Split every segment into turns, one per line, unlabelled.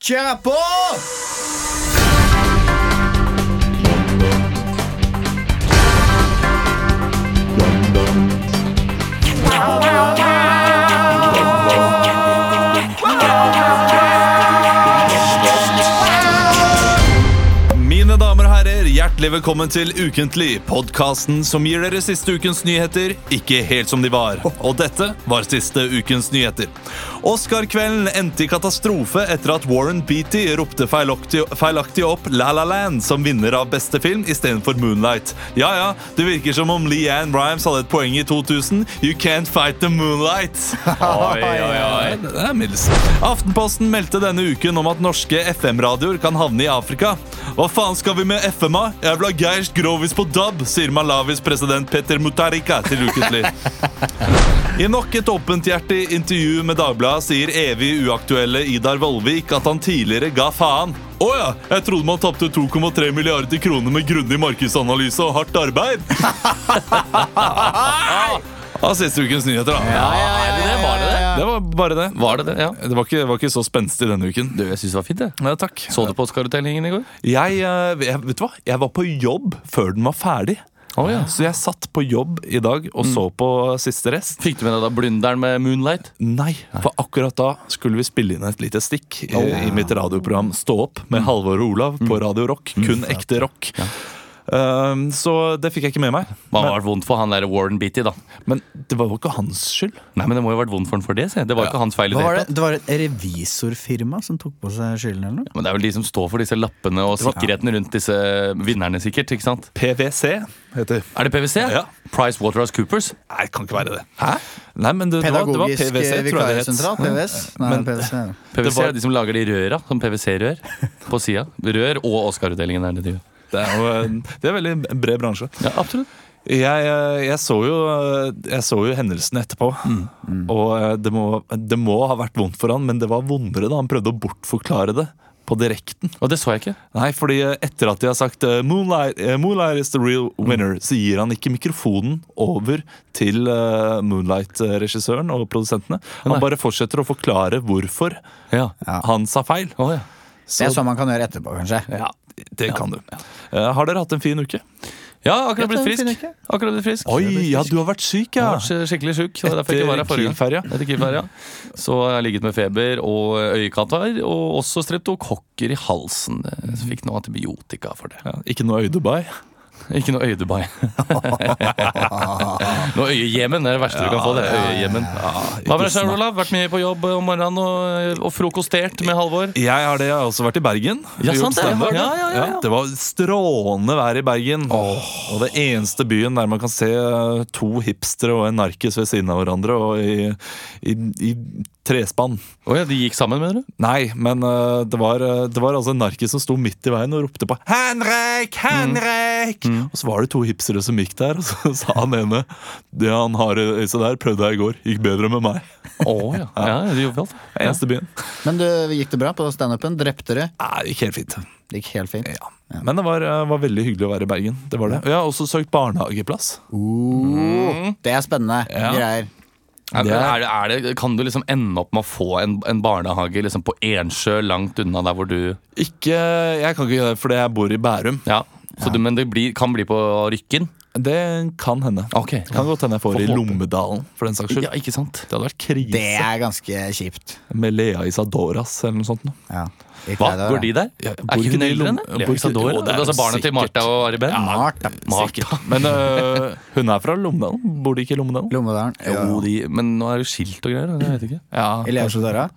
Kjære på!
Mine damer og herrer, hjertelig velkommen til Ukentlig, podkasten som gir dere siste ukens nyheter ikke helt som de var. Og dette var siste ukens nyheter. Oscar-kvelden endte i katastrofe etter at Warren Beatty ropte feilaktig, feilaktig opp La La Land som vinner av beste film istedenfor Moonlight. Ja ja, det virker som om Leanne Rhymes hadde et poeng i 2000. You can't fight the moonlight.
Oi, oi, oi.
Nei, det er mildest. Aftenposten meldte denne uken om at norske FM-radioer kan havne i Afrika. Hva faen skal vi med FM, da? Jeg vil ha Geir Grovis på DAB, sier Malawis president Peter Mutarika til Ukentlig. I nok et åpenthjertig intervju med Dagbladet sier evig uaktuelle Idar Vollvik at han tidligere ga faen. Å ja, jeg trodde man tapte 2,3 milliarder kroner med grundig markedsanalyse og hardt arbeid. Av Ah, siste ukens nyheter, da.
Ja, ja, ja, det var det det?
Det var bare det.
Var det det? Ja.
Det var ikke, det var ikke så spenstig denne uken.
Du, jeg syns det var fint, det.
Ja, takk.
Så du på Oscar-utdelingen i går?
Jeg, eh, jeg, vet du hva? jeg var på jobb før den var ferdig.
Å, ja. Mm.
Så jeg satt på jobb i dag og så på siste rest.
Fikk du med deg da Blunderen med Moonlight?
Nei, for akkurat da skulle vi spille inn et lite stikk i, i mitt radioprogram Stå opp med
Mm.
Halvor og Olav på Radio Rock. Kun ekte rock. Um, så det fikk jeg ikke med meg.
Hva har vært vondt for han der Warren Beatty, da?
Men det var jo ikke hans skyld.
Nei, men Det må jo ha vært vondt for han for det. Se. Det var jo ikke hans feil. i
Hva var
hele
det? Det var et revisorfirma som tok på seg skylden? eller noe?
Men det er vel de som står for disse lappene og sikkerheten rundt disse vinnerne, sikkert. ikke sant?
PwC heter det.
Er det PwC?
Ja.
Price Waterhouse Coopers?
Nei, det kan ikke være det. Hæ? Nei, men det, det var, det var
Pedagogisk eh,
PwC, tror jeg det
vikariesentral?
het.
PVS? Nei,
Men-
PVC.
PwC
var-
er de som lager de røra, som PwC-rør på sida. Rør og Oscar-utdelingen er det de gjør.
Det er jo en eh, det er en veldig bred bransje.
Ja, absolutt.
Jeg, eh, jeg, så jo, eh, jeg så jo hendelsen etterpå.
Mm,
Og eh, det må, det må ha vært vondt for han, men det var vondere da han prøvde å bortforklare det. På direkten.
Og det så jeg ikke.
Nei, fordi eh, etter at de har sagt eh, Moonlight, eh, Moonlight is the real
Mm.
winner, så gir han ikke mikrofonen over til eh, Moonlight-regissøren og produsentene. Han
Nei.
bare fortsetter å forklare hvorfor
Ja.
han sa feil.
Å, ja.
Det
Så
er sånn man kan gjøre etterpå, kanskje.
ja, det kan du. Eh, har dere hatt en fin uke?
ja, akkurat blitt
det er en
frisk.
fin uke.
Akkurat blitt frisk.
Oi, ja, du har vært syk, ja!
Jeg har vært skikkelig sjuk. Det var derfor jeg ikke var her forrige gang.
Kielferja.
Etter Kielferja. Så jeg har ligget med feber og øyekatarr, og også streptokokker i halsen. Så fikk noe antibiotika for det.
Ja, ikke noe øydebai.
Ikke noe øyedubai. noe øyejemen er det verste du kan få. det er øyejemen. Hva med deg sjøl, Olav? Vært mye på jobb om morgenen og, eh, og frokostert med Halvor?
Jeg har det, jeg har også vært i Bergen.
Ja, sant
Gjort
det.
standup.
Ja, ja, ja, ja.
Det var strålende vær i Bergen. Og det eneste byen der man kan se eh, to hipstere og en narkis ved siden av hverandre og i, i, i trespann.
Å ja, de gikk sammen, mener du?
Nei, men eh, det, var, eh, det var altså en narkis som sto midt i veien og ropte på 'Henrik!
Eh,
Henrik!' Og så var det to hipsere som gikk der, og så sa han ene 'Det han har i øyet der, prøvde jeg i går. Gikk bedre med meg.'
Å ja. ja de gjorde alt. Ja.
Eneste byen.
Men du, gikk det bra på standupen? Drepte dere?
Nei, gikk helt fint.
Det gikk helt fint.
Ja. Men det var, eh, var veldig hyggelig å være i Bergen. Det var det. Og jeg har også søkt barnehageplass.
Oh, det er spennende
Ja.
greier.
Er, er det, er det, kan du liksom ende opp med å få en, en barnehage liksom på Ensjø, langt unna der hvor du
Ikke, jeg kan ikke gjøre det fordi jeg bor i Bærum.
Ja, så du, men det blir, kan bli på Rykken?
Det kan hende.
Ok.
Kan godt hende jeg får
Får
i
håpe.
Lommedalen, for den saks skyld.
Ja, ikke sant?
Det hadde vært krise
Det er ganske kjipt.
med Lea Isadoras eller noe sånt. nå.
Ja. Jeg
Hva?
pleide å-
Går de der?
Ja,
er
bor
ikke
ikke
hun
de i
eldre enn
Lom-
det?
bor ikke-
Isadora?
Jo, det er
Altså barna til
sikkert.
Martha og Ari Behn?
Martha.
Martha.
Men øh, hun er fra Lommedalen. Bor de ikke i Lommedalen?
Lommedalen.
Jo, de, men nå er det jo skilt og greier. da, Jeg vet ikke.
Ja,
Elias og Dara?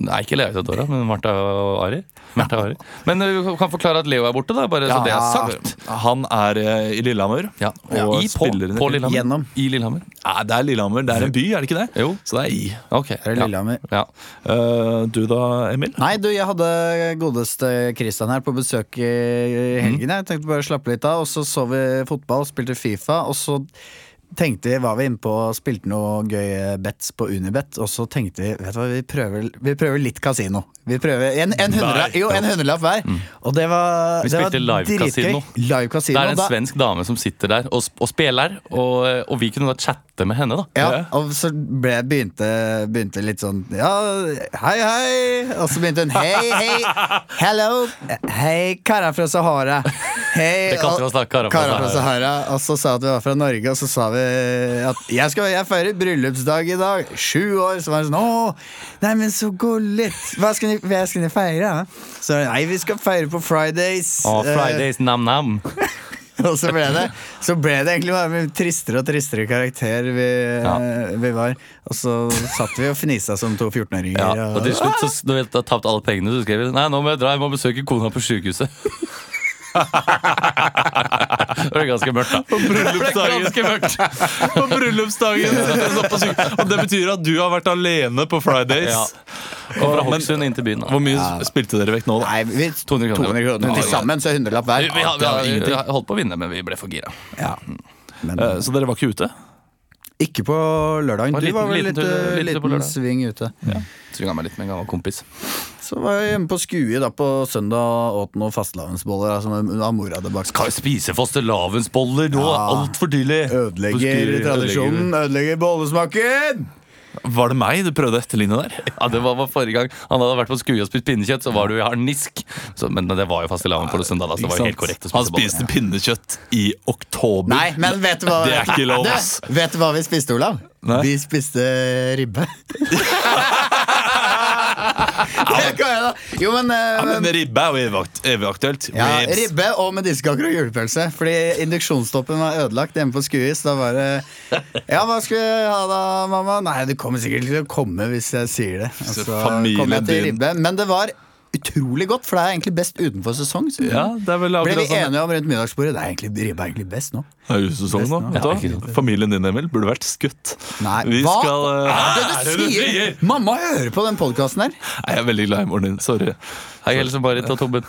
Nei, ikke Lea Isadora, men Martha og Ari. Martha og Ari. Men eh, du kan forklare at Leo er borte, da, bare så det er sagt.
Han er eh, i Lillehammer.
Ja,
Og
I på,
spiller-
på Lillehammer.
Gjennom.
I Lillehammer.
Nei, det er Lillehammer. Det er en by, er det ikke det?
Jo.
Så det er i.
Ok.
Er det
ja.
Lillehammer?
Ja.
Eh, du da, Emil?
Nei, du, jeg hadde godeste Christian her på besøk i helgen. Jeg tenkte bare å slappe litt av, og så så vi fotball, spilte Fifa, og så tenkte vi, var vi inne på og spilte noe gøye bets på Unibet, og så tenkte vi vet du hva, vi prøver, vi prøver litt kasino. Vi prøver en, en, hundrelapp,
Nei.
jo, en hundrelapp hver. Og det var,
Mm. Vi
det var
spilte live kasino.
Live
Det
kasino.
er en
da-
svensk dame som sitter der og, sp- og spiller, og, eh, og vi kunne da chatte med henne. da
Ja, og så ble, begynte, begynte litt sånn Ja, hei, hei! Og så begynte hun hei, hei, hello! Hei, karer fra Sahara. Hei,
Det kalte vi
og-
oss da, karer fra
karer fra
Sahara.
Sahara. Og så sa at vi var fra Norge, og så sa vi at jeg, skal, jeg feirer bryllupsdag i dag. Sju år. Så var det sånn Å, nei, men så gullig! Hva skal ni, hva skal ni feire? da?» Så nei, vi skal feire på Fridays.
Og
Eh,
Fridays nam-nam.
og så ble det Så ble det egentlig bare med tristere og tristere karakter vi, eh,
Ja.
vi var. Og så satt vi og fnisa som to 14-åringer.
Ja.
og-
Og til slutt så du vet, da tapte alle pengene du skrev. Nei, nå må jeg dra, jeg må besøke kona på sykehuset. det ble ganske mørkt, da.
På bryllupsdagen.
Ganske mørkt.
På bryllupsdagen sitter hun oppe og synger. Og det betyr at du har vært alene på Fridays.
Ja. Og fra Hokksund inn til byen. Da.
Hvor mye spilte dere vekk nå, da?
Nei, vi,
200 kroner.
til sammen, så hundrelapp hver.
Vi, vi, har-
Det var
vi, har- vi
ingenting.
har holdt på å vinne, men vi ble for gira.
Ja. Men
Eh, Så dere var ikke ute?
ikke på lørdagen.
var
Du var vel
liten- liten
litt
tur-
eh,
liten tur på
liten
lørdag.
sving ute.
Tvinga meg litt med en gammel kompis.
Så var jeg hjemme på Skue da på søndag og altså, åt noen fastelavnsboller da, som av mora hadde bakt.
Kan jo spise fastelavnsboller nå!
Ja.
Altfor dyrlig!
Ødelegger tradisjonen, ødelegger bollesmaken!
Var det meg du prøvde å etterligne der?
Ja, det var, var forrige gang Han hadde vært på skue og spist pinnekjøtt, så var du i harnisk. Så, men det var jo fastelavn på søndag, da, så det var jo helt korrekt å
Han
spise boller.
spiste pinnekjøtt i oktober.
Nei, men vet du hva
Det er ikke lov,
Du,
ass.
Vet du hva vi spiste, Olav?
Nei.
Vi spiste ribbe Det kan jeg da Jo, men, eh,
Ja, men
men
ribbe er jo evig akt- evig aktuelt.
ja,
Ribs.
Ribbe og mediskaker og julepølse Fordi induksjonstoppen var ødelagt hjemme på Skuis Da var det Ja, hva skal vi ha da, mamma? Nei, du kommer sikkert til å komme hvis jeg sier det Og Så
Familien
kom jeg til
din.
ribbe Men det var utrolig godt For det er egentlig best utenfor sesong så-
Ja, det er vel
Ble vi
akkurat sånn.
enige om rundt middagsbordet? Det er egentlig, ribbe er egentlig best nå
Det er julesesong nå.
Nesten,
vet
ja.
du hva? Familien din, Emil, burde vært skutt.
Nei,
Vi
hva?
skal eh,
Er det du sier? Mamma hører på den podkasten her.
Nei, Jeg er veldig glad i moren din. Sorry.
Hei, Else Marit og Tobben.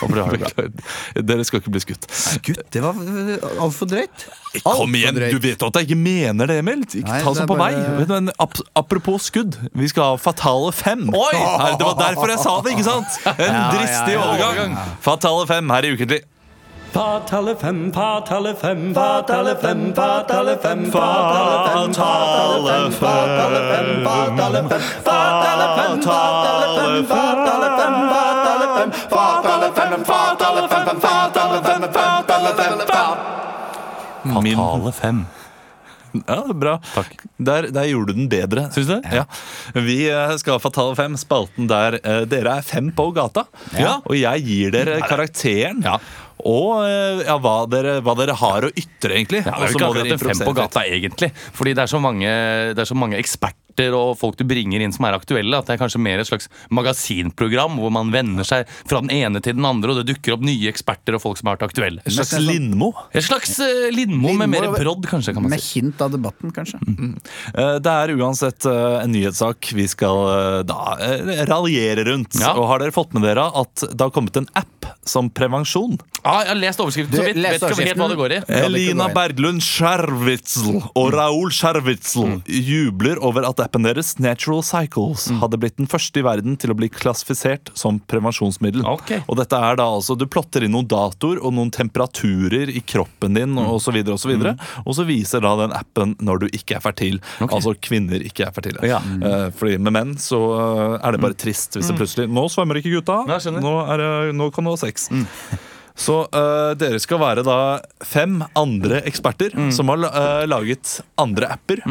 Håper du har det bra.
Dere skal ikke bli skutt.
Gutt, det var altfor drøyt.
Kom igjen, du vet jo at jeg ikke mener det, Emil. Ikke
Nei,
ta
det
sånn
er
på meg.
bare-
Vet du, men ap apropos skudd, vi skal ha Fatale fem. Her, det var derfor jeg sa det, ikke sant? En
Ja, ja,
dristig
ja.
overgang. Fatale fem her i Ukentlig.
Fatale fem, fatale fem, fatale fem, fatale fem, fatale fem, fatale fem, fatale fem, fatale fem, fatale fem, fatale fem, fatale fem, fatale fem, fatale fem, fatale fem, fatale fem, fatale fem, fatale
Min-
Fatale fem.
Ja, det er bra.
Takk.
Der, der gjorde du den bedre.
Syns du det?
Ja. Vi eh, skal ha Fatale fem, spalten der eh, dere er fem på gata.
Ja.
Og jeg gir dere karakteren. Og eh, ja, hva, dere, hva dere har å ytre, egentlig.
Ja, det er
Og
jo
så
ikke
må
akkurat
dere
en fem på
improvisere litt.
gata, egentlig. Fordi det er så mange, det er så mange eksperter og folk du bringer inn som er aktuelle, at det er kanskje mer et slags magasinprogram hvor man vender seg fra den ene til den andre, og det dukker opp nye eksperter og folk som har vært aktuelle.
En slags
Men det er
Altså- Lindmo.
Et slags eh, Lindmo med mer
Lindmo-
brodd, kanskje. kan man
Med
si
hint av debatten, kanskje. Mm.
Eh, Det er uansett eh, en nyhetssak vi skal eh, da eh, raljere rundt.
Ja.
Og har dere fått med dere at det har kommet en app som prevensjon?
ah, Jeg har lest overskriften
Du,
så vidt.
les
Vet ikke helt hva det går i.
overskriften. Ja, det kan
Elina
gå inn.
Berglund Skjervitzel og Raoul
Mm.
Skjervitzel jubler over at appen deres Natural Cycles hadde blitt den første i verden til å bli klassifisert som prevensjonsmiddel.
Ok.
Og dette er da altså, Du plotter inn noen datoer og noen temperaturer i kroppen din og så videre og så
Mm.
videre. Og så viser da den appen når du ikke er fertil. Altså kvinner ikke er fertile.
Ja.
Eh, Fordi med menn så eh, er det bare trist hvis det plutselig Nå svømmer ikke gutta.
Ja, Mm. jeg skjønner. Mm.
Nå, er, det- nå kan du ha sex. Så øh, dere skal være da fem andre eksperter
Mm.
som har øh, laget andre apper.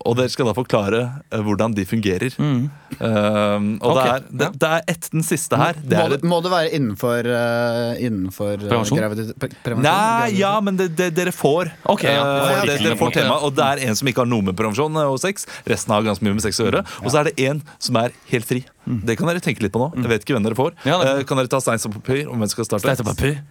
Og dere skal da forklare øh, hvordan de fungerer. Ehm, og
Mm. Ok,
det, er, det, det er ett den siste her. Det
Må
er
det,
et,
må det være innenfor, eh, innenfor eh,
Prevensjon?
graviditet- pre- prevensjon?
nei,
Graviditet?
ja, men det, det, dere får.
Ok, ja.
Eh,
Ja,
det,
riktig.
dere får
Ok, ja.
tema, og det er en som ikke har noe med prevensjon eh, og sex. Resten har ganske mye med sex å gjøre. Og så er det en som er helt fri. Det kan dere tenke litt på nå. Jeg vet ikke hvem dere får.
Mm. Ja, det-
Eh, kan dere ta stein og papir om hvem skal starte?
Stein og papir.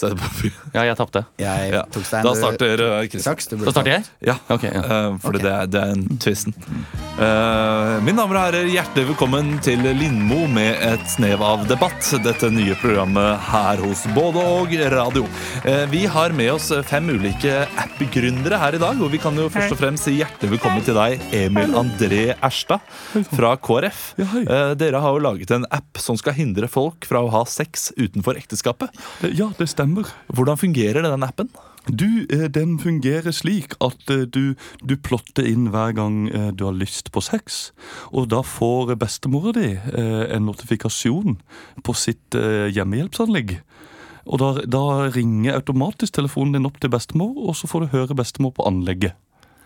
Så er det bare
Ja, jeg tapte.
Jeg
ja.
tok stein.
Da
du-
starter eh, Chris.
Saks, du ble
Da starter jeg?
Ja,
Ok, ja.
eh, fordi det, er, det er
Mm.
en twisten. Eh, mine damer og herrer, hjertelig velkommen til Lindmo med et snev av debatt. Dette nye programmet her hos både og radio. Eh, vi har med oss fem ulike app-gründere her i dag. Og vi kan jo først og fremst si hjertelig velkommen til deg, Emil André Erstad fra KrF.
Ja, hei.
Eh, dere har jo laget en app som skal hindre folk fra å ha sex utenfor ekteskapet.
Det- Ja, det stemmer.
Hvordan fungerer den appen?
Du, eh, den fungerer slik at eh, du, du plotter inn hver gang eh, du har lyst på sex. Og da får bestemora di eh, en notifikasjon på sitt eh, hjemmehjelpsanlegg. Og da, da ringer automatisk telefonen din opp til bestemor, og så får du høre bestemor på anlegget.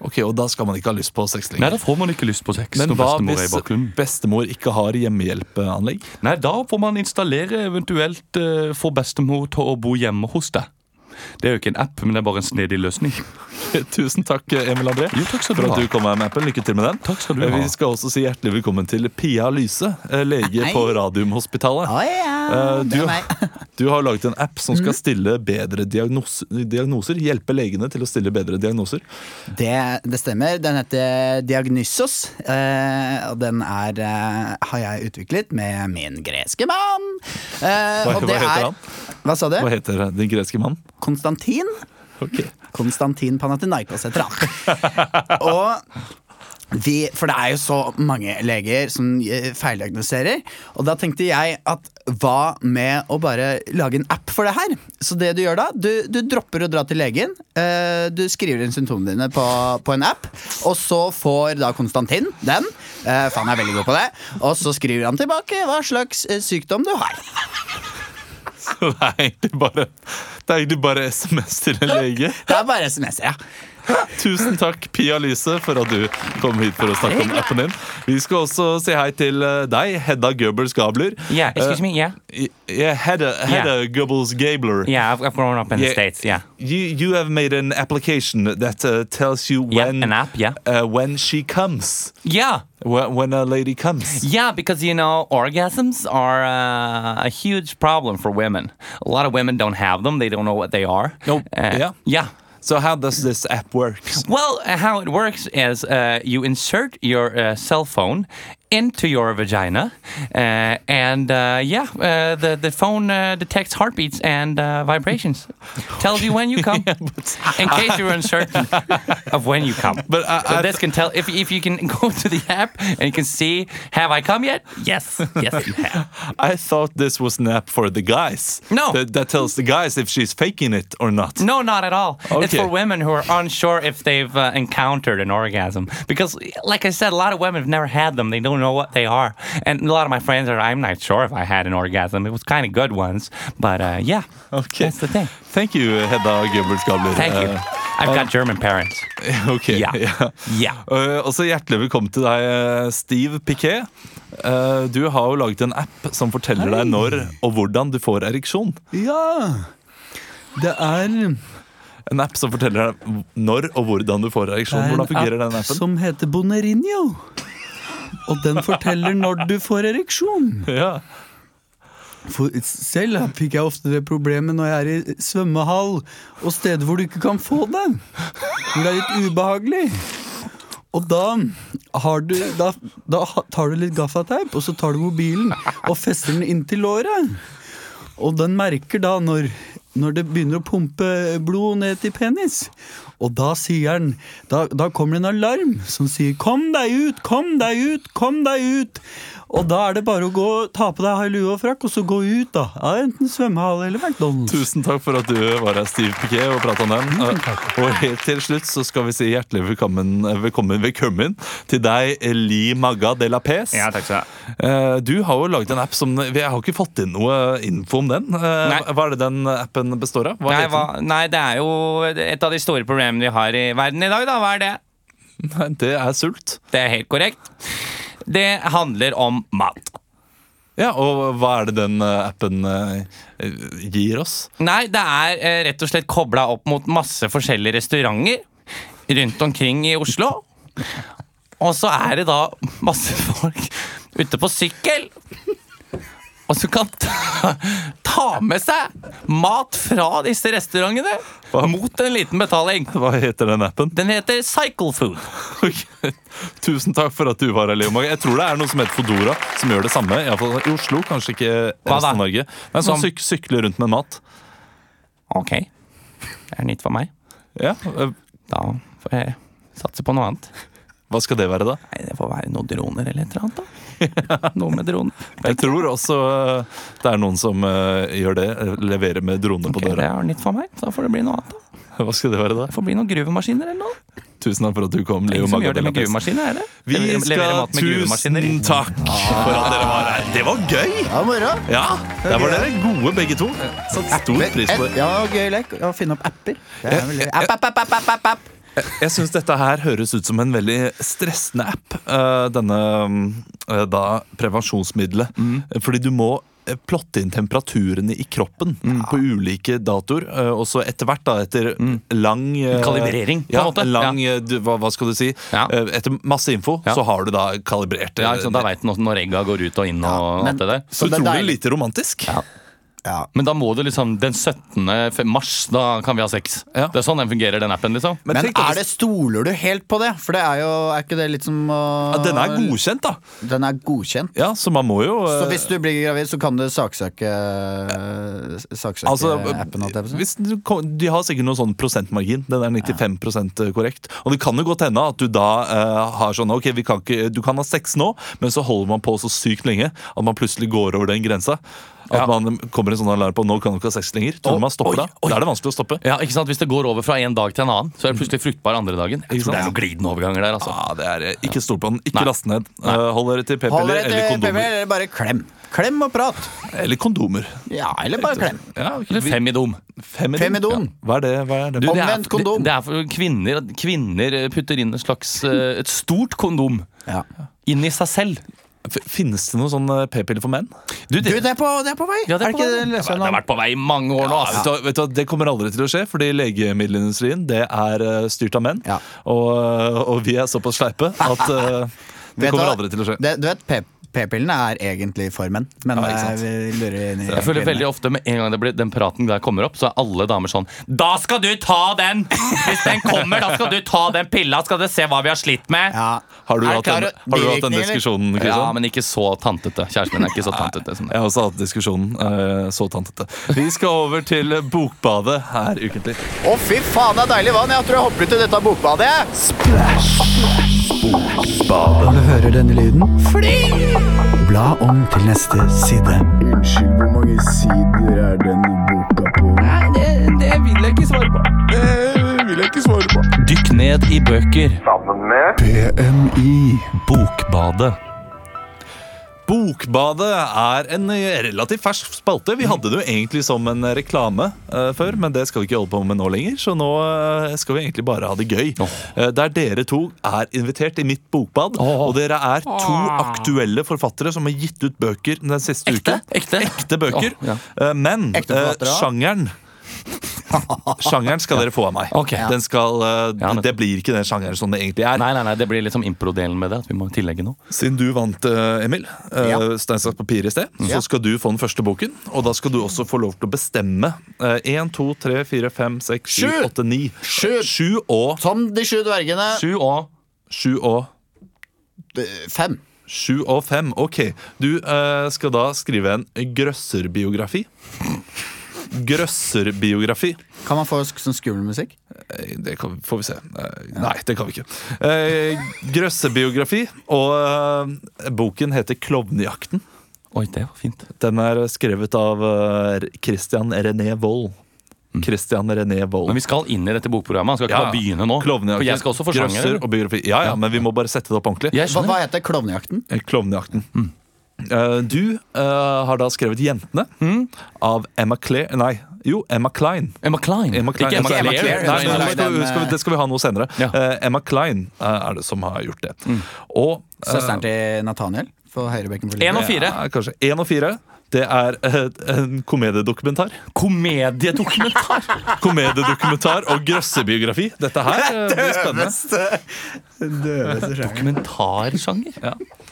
Ok, Og da skal man ikke ha lyst på sex lenger.
Nei, da får man ikke lyst på sex
Men
når
hva
bestemor er i
hvis
bakgrunnen.
bestemor ikke har hjemmehjelpeanlegg?
Nei, da får man installere eventuelt eh, få bestemor til å bo hjemme hos deg. Det er jo ikke en app, men det er bare en snedig løsning.
Tusen takk, Emil André,
Jo, takk skal du
for at
ha.
du kom her med appen. Lykke til med den.
Takk skal du ha.
Vi skal også si hjertelig velkommen til Pia Lyse, eh, lege på Radiumhospitalet.
Å ja,
Eh,
det
du,
er meg. Mm.
du har laget en app som skal stille bedre diagnos diagnoser. Hjelpe legene til å stille bedre diagnoser.
Det, det stemmer. Den heter Diagnysos. eh, og den er, eh, har jeg utviklet med min greske mann. Eh,
Hva-
og
hva
det
heter
er-
han?
Hva sa du?
Hva heter den greske mannen?
Konstantin.
Ok.
Konstantin Panathinaikos heter han. og vi, for det er jo så mange leger som eh, feildiagnoserer. Og da tenkte jeg at hva med å bare lage en app for det her? Så det du gjør da, du, du dropper å dra til legen. eh, Du skriver inn symptomene dine på, på en app, og så får da Konstantin den. eh, For han er veldig god på det. Og så skriver han tilbake hva slags eh, sykdom du har.
Så det er egentlig bare, det er egentlig bare SMS til en lege.
Det er bare SMS-er, ja.
Tusen takk, Pia Lyse, for at du kom hit for å snakke om appen din. Vi skal også si hei til eh, deg, Hedda Goebbels Gabler.
Yeah,
Eh,
excuse me. Yeah,
y- Yeah, Hedda, Hedda Goebbels Gabler.
yeah. I've, I've grown up in
Yeah.
the states. Yeah,
You, you have made an application that uh, tells you
Yeah,
when
an app, yeah.
uh, when she comes,
yeah,
when, when a lady comes.
yeah. Because you know, orgasms are uh, a huge problem for women. A lot of women don't have them. They don't know what they are. Uh,
No, yeah.
yeah.
So how does this app work?
Well, uh, how it works is uh, you insert your uh, cell phone into your vagina, uh, and uh, yeah, uh, the the phone uh, detects heartbeats and uh, vibrations, tells you when you come, in case you're uncertain of when you come.
But I-
so
I-
this can tell if if you can go to the app and you can see have I come yet? Yes, yes, you have.
I thought this was an app for the guys.
No.
That, that tells the guys if she's faking it or not.
No, not at all. It's
Okay.
for women who are unsure if they've uh, encountered an orgasm. Because, like I said, a lot of women have never had them. They don't know what they are. And a lot of my friends are, I'm not sure if I had an orgasm. It was kind of good ones. But uh, yeah,
Okay.
that's the thing.
Thank you, Hedda Goebbels Gabler.
Thank you.
Uh,
I've got German parents.
Ok,
Ja.
ja.
Ja.
Eh, Også hjertelig velkommen til deg, eh, Steve Piquet. Eh, Du har jo laget en app som forteller deg når og hvordan du får ereksjon.
Ja, det er
En app som forteller deg når og hvordan du får ereksjon. Hvordan fungerer den appen?
som heter Bonerinho. Og den forteller når du får ereksjon.
Ja.
For selv fikk jeg ofte det problemet når jeg er i svømmehall og steder hvor du ikke kan få det. Hvor det er litt ubehagelig. Og da, har du, da, da ha- tar du litt gaffateip, og så tar du mobilen og fester den inntil låret. Og den merker da når, når det begynner å pumpe blod ned til penis. Og da sier den da, da kommer det en alarm som sier 'kom deg ut, kom deg ut, kom deg ut'. Og da er det bare å gå, ta på deg lue og frakk og så gå ut, da. Ja, enten svømmehale eller McDonald's.
Tusen takk for at du var her, Steve Piquet, og prata om den. Eh, Og helt til slutt så skal vi si hjertelig velkommen, eh, velkommen, velkommen til deg, Li Magga de la Pes. Eh, Du har jo laget en app som Jeg har ikke fått inn noe info om den. Eh, Hva er det den appen består av? Hva
Nei,
heter den?
hva, nei, det er jo et av de store problemene vi har i verden i dag, da. Hva er det?
Nei, det er sult.
Det er helt korrekt. Det handler om mat.
Ja, Og hva er det den eh, appen eh, gir oss?
Nei, det er eh, rett og slett kobla opp mot masse forskjellige restauranter rundt omkring i Oslo. Og så er det da masse folk ute på sykkel. Og så kan ta, ta ta med seg mat fra disse restaurantene mot en liten betaling.
Hva heter den appen?
Den heter Cycle Food.
Ok. Tusen takk for at du var her, Leo Mag. Jeg tror det er noe som heter Fodora, som gjør det samme. I, hvert fall i Oslo, kanskje ikke
Hva da?
resten av Norge. Men som
Som-
syk sykler rundt med mat.
Ok, det er nytt for meg.
Ja, eh,
Da får jeg satse på noe annet.
Hva skal det være, da?
Nei, det får være noen droner eller et eller annet. da. Noe med droner.
Jeg tror også eh, det er noen som eh, gjør det. eh, Leverer med drone på
Ok, det
døra.
er nytt for meg. Da får det bli noe annet. da.
Hva skal det være, da?
Det får bli noen gruvemaskiner eller noe.
Tusen takk for at du kom, Leo
Ingen som
Mag.
gjør det med
Budapest.
gruvemaskiner, er det?
Vi
Leverer- leverer
skal
mat med gruvemaskiner.
Tusen takk for at dere var her. Det var gøy!
Ja, moro.
Ja, Der var dere gode, begge to. Satt stor pris på det.
Ja, gøy lek å finne opp apper. Det er veldig...
App, app, app, app, app, app, app.
Jeg syns dette her høres ut som en veldig stressende app. eh, Denne eh, da prevensjonsmiddelet.
Mm.
Fordi du må eh, plotte inn temperaturene i kroppen
Mm.
på ulike datoer. eh, Og så etter hvert, da, etter lang eh,
Kalibrering, på en
Ja,
måte.
lang, eh, du, hva, hva skal du si?
Ja.
Eh, Etter masse info,
Ja.
så har du da kalibrert.
Ja,
eh,
ikke sant? Da veit den også når egga går ut og inn og alt det der.
Så
det er
utrolig
deilig.
lite romantisk.
Men da må du liksom Den 17. fe- mars, da kan vi ha sex.
Ja.
Det er sånn den fungerer, den appen, liksom.
Men
Men
tenk da
er
hvis-
det, stoler du helt på det? For det er jo Er ikke det litt som å
Ja, den er godkjent, da.
Den er godkjent.
Ja, så man må jo eh,
Så hvis du blir gravid, så kan du saksøke Saksøke
Altså,
appen? holdt jeg på å si.
hvis du, kom- de har sikkert noen sånn prosentmargin. Den er 95 korrekt. Og det kan jo godt hende at du da eh, har sånn Ok, vi kan ikke, du kan ha sex nå, men så holder man på så sykt lenge at man plutselig går over den grensa. At man kommer en sånn alarm på nå kan du ikke ha sex lenger. Tror
Oi,
man stopper
oi,
da. Da er det vanskelig å stoppe. Mm.
Ja, ikke sant? Hvis det går over fra en dag til en annen, så er det plutselig fruktbar andre dagen. Jeg tror det er noen glidende overganger der, altså.
Ja, det er eh, Ikke stol på den.
Nei.
Ikke last ned. Eh, Hold dere til
Hold
p-piller
deg
eller
til
kondomer.
eller bare klem. Klem og prat.
Eller kondomer.
Ja, eller bare klem.
Ja, ok,
Eller
vi-
Femidom.
Femidon.
Femidon.
Ja. Hva er det? Hva er det?
Du, det er-
Omvendt kondom.
Det, det er for kvinner. at Kvinner eh, putter inn et slags eh, Et stort kondom
Ja.
inn i seg selv.
F- Finnes det noen sånn eh, p-piller for menn?
Du, det,
Du, det er på, det er på vei!
ja, det, er på
ikke
vei.
det
det,
løsningen?
har vært på vei i mange år nå.
Vet
Altså.
du, hva- vet du, hva, det kommer aldri til å skje, fordi legemiddelindustrien det er eh, styrt av menn.
Ja.
Og, eh, og vi er såpass sleipe at eh, det
Vet du
kommer
hva?
aldri til å skje.
Det, du vet, p- p-pillene er egentlig for menn, men
Ja, ikke sant.
eh, vi lurer inn i
Jeg føler veldig
kvinnene.
ofte Med en gang det blir, den praten der kommer opp, så er alle damer sånn Da skal du ta den! Hvis den kommer, da skal du ta den pilla! Skal du se hva vi har slitt med!
ja.
Har du,
Er
hatt,
klar-
den, har du hatt den
bivirkninger, eller?
diskusjonen,
Ja,
Kristian?
men ikke så tantete. Kjæresten min er ikke så tantete som det.
Jeg har også hatt diskusjonen. eh, så tantete. Vi skal over til Bokbadet her ukentlig.
Å, fy faen, det er deilig vann! Jeg tror jeg hopper ut i dette bokbadet. Bokbadet. Du hører denne lyden? Fly! Bla om til neste side. Unnskyld, hvor mange sider er denne boka på?
Dykk ned i bøker.
Bokbadet. Bokbadet er en eh, relativt fersk spalte. Vi hadde det jo egentlig som en reklame eh, før, men det skal vi ikke holde på med nå lenger. Så nå eh, skal vi egentlig bare ha det gøy. Eh, der dere to er invitert i mitt bokbad. Og dere er to aktuelle forfattere som har gitt ut bøker den siste
Ekte?
uken.
Ekte?
Ekte bøker.
Åh, ja.
Eh, men
Ekte
eh,
forfattere, ja.
sjangeren Sjangeren skal dere få av meg.
Ok.
Den skal, eh,
Ja, nettopp.
det blir ikke den sjangeren som det egentlig er.
Nei, nei, nei, det blir liksom impro-delen med det. At vi må tillegge noe.
Siden du vant, eh, Emil, eh,
Ja.
Stein, saks, papir i sted, så skal du få den første boken. Og da skal du også få lov til å bestemme. Eh, Én, to, tre, fire, fem, seks, sju,
Sju!
åtte, ni. Eh,
Sju!
Sju og
Som de sju dvergene.
Sju og
Sju og
Fem.
Sju og fem. Ok. Du eh, skal da skrive en grøsserbiografi. Grøsserbiografi.
Kan man få sk- sånn skummel musikk?
Eh, Det kan, får vi se. Eh, Nei, det kan vi ikke. Eh, Grøssebiografi. Og eh, boken heter 'Klovnejakten'.
Oi, det var fint.
Den er skrevet av eh, Christian René Wold. Christian René
Men
Wold.
vi skal inn i dette bokprogrammet. Han skal ikke
Ja.
bare begynne nå.
Klovnejakten.
For jeg skal også få
Grøsser
sjanger.
og biografi. Ja, ja, men vi må bare sette det opp ordentlig.
Jeg
Hva, hva
skjønner.
heter Klovnejakten?
Eh, Klovnejakten. Eh, du eh, har da skrevet 'Jentene' av Emma Claire Nei, jo, Emma Klein.
Emma Klein.
Emma Klein.
Ikke Emma
Nei,
Claire.
Nei, nei,
Emma
nei,
Klein,
skal,
den,
vi- skal, vi- det skal vi ha noe senere.
Ja.
Eh, Emma Klein eh, er det som har gjort det. Og eh,
Søsteren til Nathaniel? For høyrebekken for
En og fire.
Ja, kanskje én og fire. Det er eh, en komediedokumentar.
Komediedokumentar!
Komediedokumentar og grøssebiografi. Dette her eh, blir spennende.
Døveste sjangeren.
Dokumentarsjanger.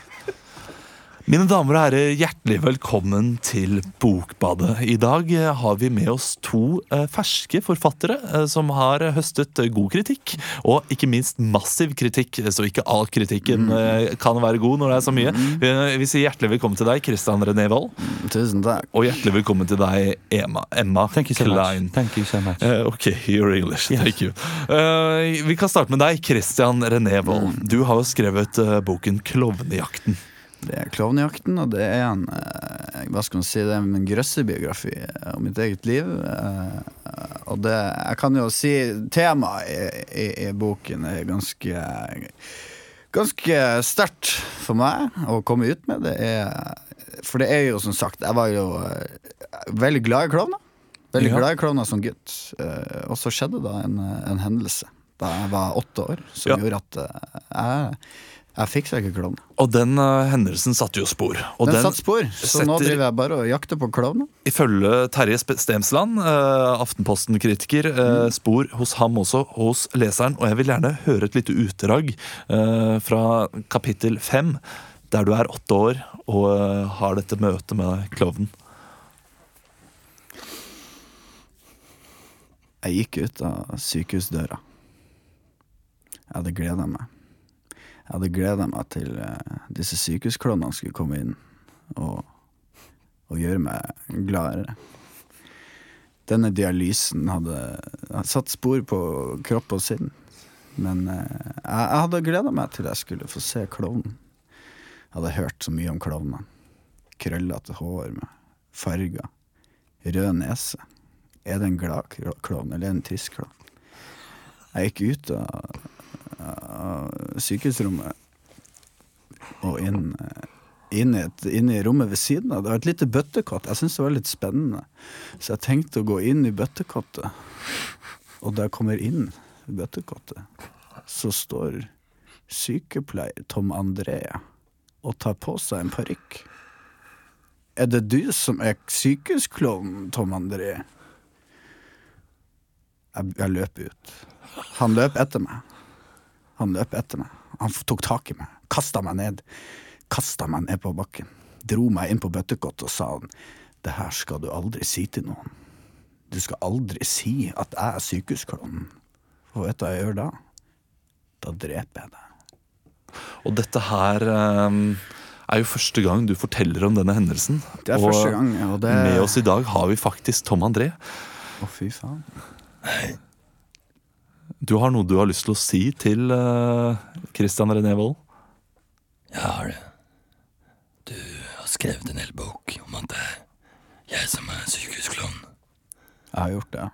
Mine damer og herrer, hjertelig velkommen til Bokbadet. I dag eh, har vi med oss to eh, ferske forfattere eh, som har eh, høstet eh, god kritikk, og ikke minst massiv kritikk, eh, så ikke all kritikken
Mm.
eh, kan være god når det er så mye. Eh, Vi sier hjertelig velkommen til deg, Christian René Wold,
Tusen takk.
og hjertelig velkommen til deg, Emma, Emma
Mm, Thank you so
Klein.
much. Thank you so much.
Eh, ok, you're English. Thank you. Eh, vi kan starte med deg, Christian René
Mm.
Wold. Du har jo skrevet eh, boken 'Klovnejakten'.
Det er Klovnejakten, og det er en eh, Hva skal man si, det er en grøssebiografi eh, om mitt eget liv. eh, og det Jeg kan jo si temaet i, i, i boken er ganske Ganske sterkt for meg å komme ut med. Det er For det er jo som sagt, jeg var jo eh, veldig glad i klovner. Veldig
Ja.
glad i klovner som gutt. Eh, og så skjedde da en, eh, en hendelse da jeg var åtte år, som
Ja.
gjorde at eh, jeg, jeg fikk seg ikke klovn.
Og den eh, hendelsen satte jo spor. Og
den,
den,
satt spor, så nå
setter-
driver jeg bare og jakter på klovner.
ifølge Terje Sp- Stemsland, eh, Aftenposten-kritiker, eh,
Mm.
spor hos ham også, og hos leseren. Og jeg vil gjerne høre et lite utdrag eh, fra kapittel fem, der du er åtte år og eh, har dette møtet med klovnen.
Jeg gikk ut av sykehusdøra. Jeg hadde gleda meg. Jeg hadde gleda meg til eh, disse sykehusklovnene skulle komme inn og, og gjøre meg gladere. Denne dialysen hadde, hadde satt spor på kropp og sinn. Men eh, jeg, jeg hadde gleda meg til jeg skulle få se klovnen. Jeg hadde hørt så mye om klovnene. Krøllete hår med farger. Rød nese. Er det en glad klo- klovn, eller en trist klovn? Jeg gikk ut av, av sykehusrommet og inn, eh, inn, i et, inn i rommet ved siden av. Det var et lite bøttekott. Jeg syntes det var litt spennende. Så jeg tenkte å gå inn i bøttekottet. Og da jeg kommer inn i bøttekottet, så står sykepleier Tom Andrea og tar på seg en parykk. Er det du som er sykehusklovnen, Tom André? Jeg, jeg løp ut. Han løp etter meg. Han løp etter meg. Han tok tak i meg, kasta meg ned. Kasta meg ned på bakken. Dro meg inn på bøttekottet og sa han, det her skal du aldri si til noen. Du skal aldri si at jeg er sykehusklovnen. For vet du hva jeg gjør da? Da dreper jeg deg.
Og dette her eh, er jo første gang du forteller om denne hendelsen.
Det er
og
første gang, og det-
med oss i dag har vi faktisk Tom André.
Å, fy faen.
Du har noe du har lyst til å si til eh, Christian René Wold?
Jeg har det. Du har skrevet en hel bok om at det er jeg som er sykehusklovn.
Jeg har gjort det.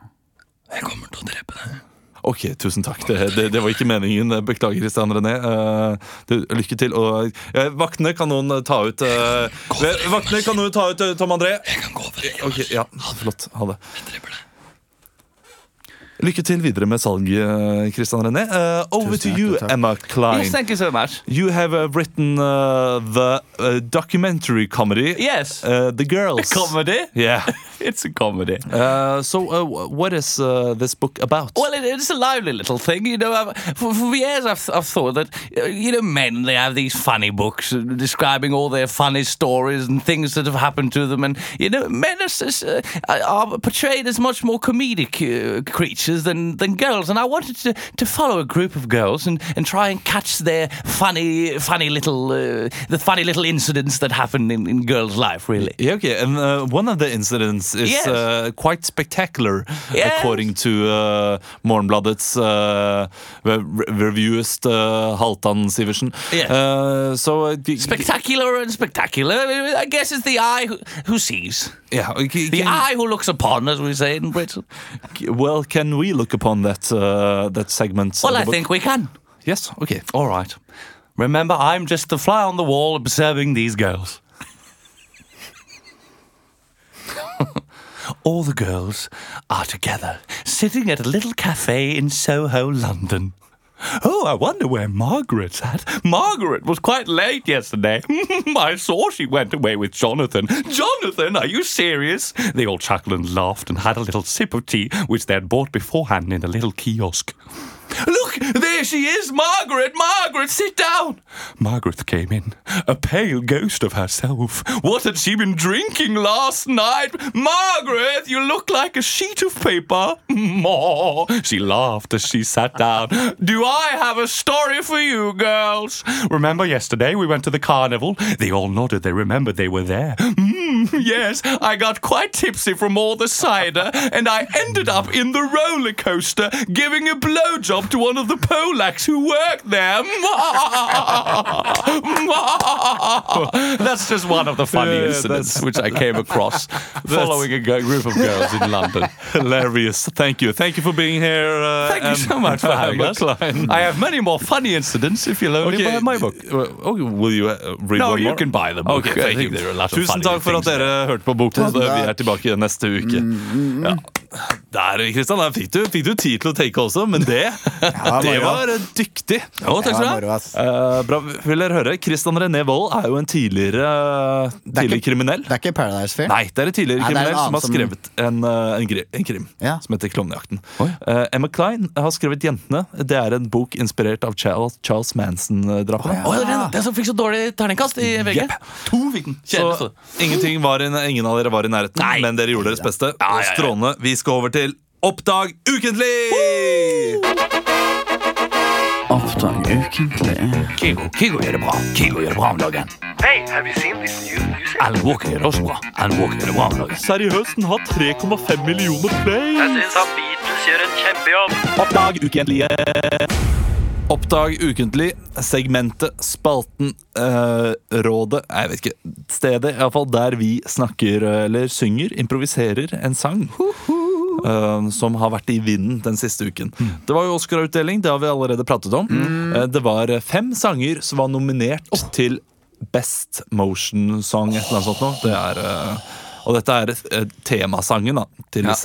Jeg kommer til å drepe deg.
Ok, tusen takk. Det, det, det var ikke meningen. Beklager, Christian René. Eh, du, lykke til. Og eh, vaktene kan noen ta ut eh, ve- Vaktene kan noen ta ut eh, Tom André. Eh,
Jeg kan gå over deg.
Ok, ja, flott. Ha det.
Jeg dreper deg.
Lykke til videre med salget, eh, Christian René. Eh, over
Tusen
to you,
hjertelig takk.
Emma Klein.
Yes, thank you so much.
You have uh, written uh, the uh, documentary comedy,
Yes.
uh, The Girls.
Comedy?
Yeah.
It's a comedy.
Uh, so, uh, wh- what is uh, this book about?
Well, it, it's a lively little thing, you know. I've, for, for years, I've, I've thought that uh, you know, men they have these funny books uh, describing all their funny stories and things that have happened to them, and you know, men are, s- s- uh, are portrayed as much more comedic uh, creatures than, than girls. And I wanted to, to follow a group of girls and, and try and catch their funny, funny little, uh, the funny little incidents that happen in, in girls' life, really.
yeah, okay. And uh, one of the incidents is
Yes.
uh, quite spectacular,
Yes.
according to uh, Morgenbladet's uh, re- reviewist uh, Haltan Siversen.
Yes.
Uh, so, uh, g-
Spectacular and spectacular. I guess it's the eye who, who sees.
yeah, okay,
The
can-
eye who looks upon, as we say in Britain.
well, can we look upon that uh, that segment? of
Well,
the
I
book?
think we can.
yes. Okay.
All right. Remember, I'm just the fly on the wall observing these girls. All the girls are together, sitting at a little cafe in Soho, London. Oh, I wonder where Margaret's at. Margaret was quite late yesterday. I saw she went away with Jonathan. Jonathan, are you serious? They all chuckled and laughed and had a little sip of tea, which they had bought beforehand in a little kiosk.
Look, there she is, Margaret, Margaret, sit down.
Margaret came in, a pale ghost of herself. What had she been drinking last night? Margaret, you look like a sheet of paper. Maw. She laughed as she sat down. Do I have a story for you, girls? Remember yesterday we went to the carnival? They all nodded. They remembered they were there. Mm, yes, I got quite tipsy from all the cider, and I ended up in the roller coaster giving a blowjob to one of the Polacks who worked there.
That's just one of the funny
Yeah,
incidents which I came across following a g- group of girls in London.
Hilarious. Thank you. Thank you for being here. Uh,
Thank you so much for having us. I have many more funny incidents if you'll only buy my book.
Oh, will you uh, read
No,
one
you
more?
can buy the book.
Okay,
I
thank
think
you.
there are a lot of
Tusen
funny
takk for at
things there.
dere hørte på Bokpodden. Vi er
takk.
tilbake neste uke. Ja. Der, Kristian, der fikk du, fikk du tid til å tenke også, men det,
Ja,
det
moro.
var eh, dyktig.
Det var moro, ass.
Eh, bra, vil dere høre? Christian René Wold er jo en tidligere,
er ikke-
tidligere kriminell.
Det er ikke Paradise Fair?
Nei, det er en tidligere
Nei, det er en
kriminell som
annen
har skrevet en, eh, en, gri- en krim
Ja.
som heter Klovnejakten. Eh, Emma Klein har skrevet Jentene. Det er en bok inspirert av Charles, Charles Manson-drapene.
Å, det er den- Den som fikk så dårlig terningkast i VG.
Jepp.
To fikk den. Kjedelig.
Så
Så.
ingenting var i, ingen av dere var i nærheten,
Nei.
men dere gjorde deres beste.
Ja, ja, ja.
Strålende. Vi skal over til Oppdag ukentlig!
Kygo, Kygo gjør det bra. Kygo gjør det bra om dagen.
Hey, have you seen this new music?
Alan Walker gjør det også bra. Alan Walker gjør det bra om dagen.
Seriøst, den har 3,5 millioner play!
Jeg syns at Beatles gjør en kjempejobb.
Oppdag ukentlige. Oppdag ukentlig. Segmentet, spalten, eh, rådet Nei, Jeg vet ikke. Stedet, iallfall, der vi snakker eh, eller synger, improviserer en sang. eh, som har vært i vinden den siste uken. Det var jo Oscar-utdeling, det har vi allerede pratet om. Eh, det var fem sanger som var nominert til Best Motion Song, et eller annet sånt noe. Det er, eh, og dette er eh, temasangen da, til
Ja.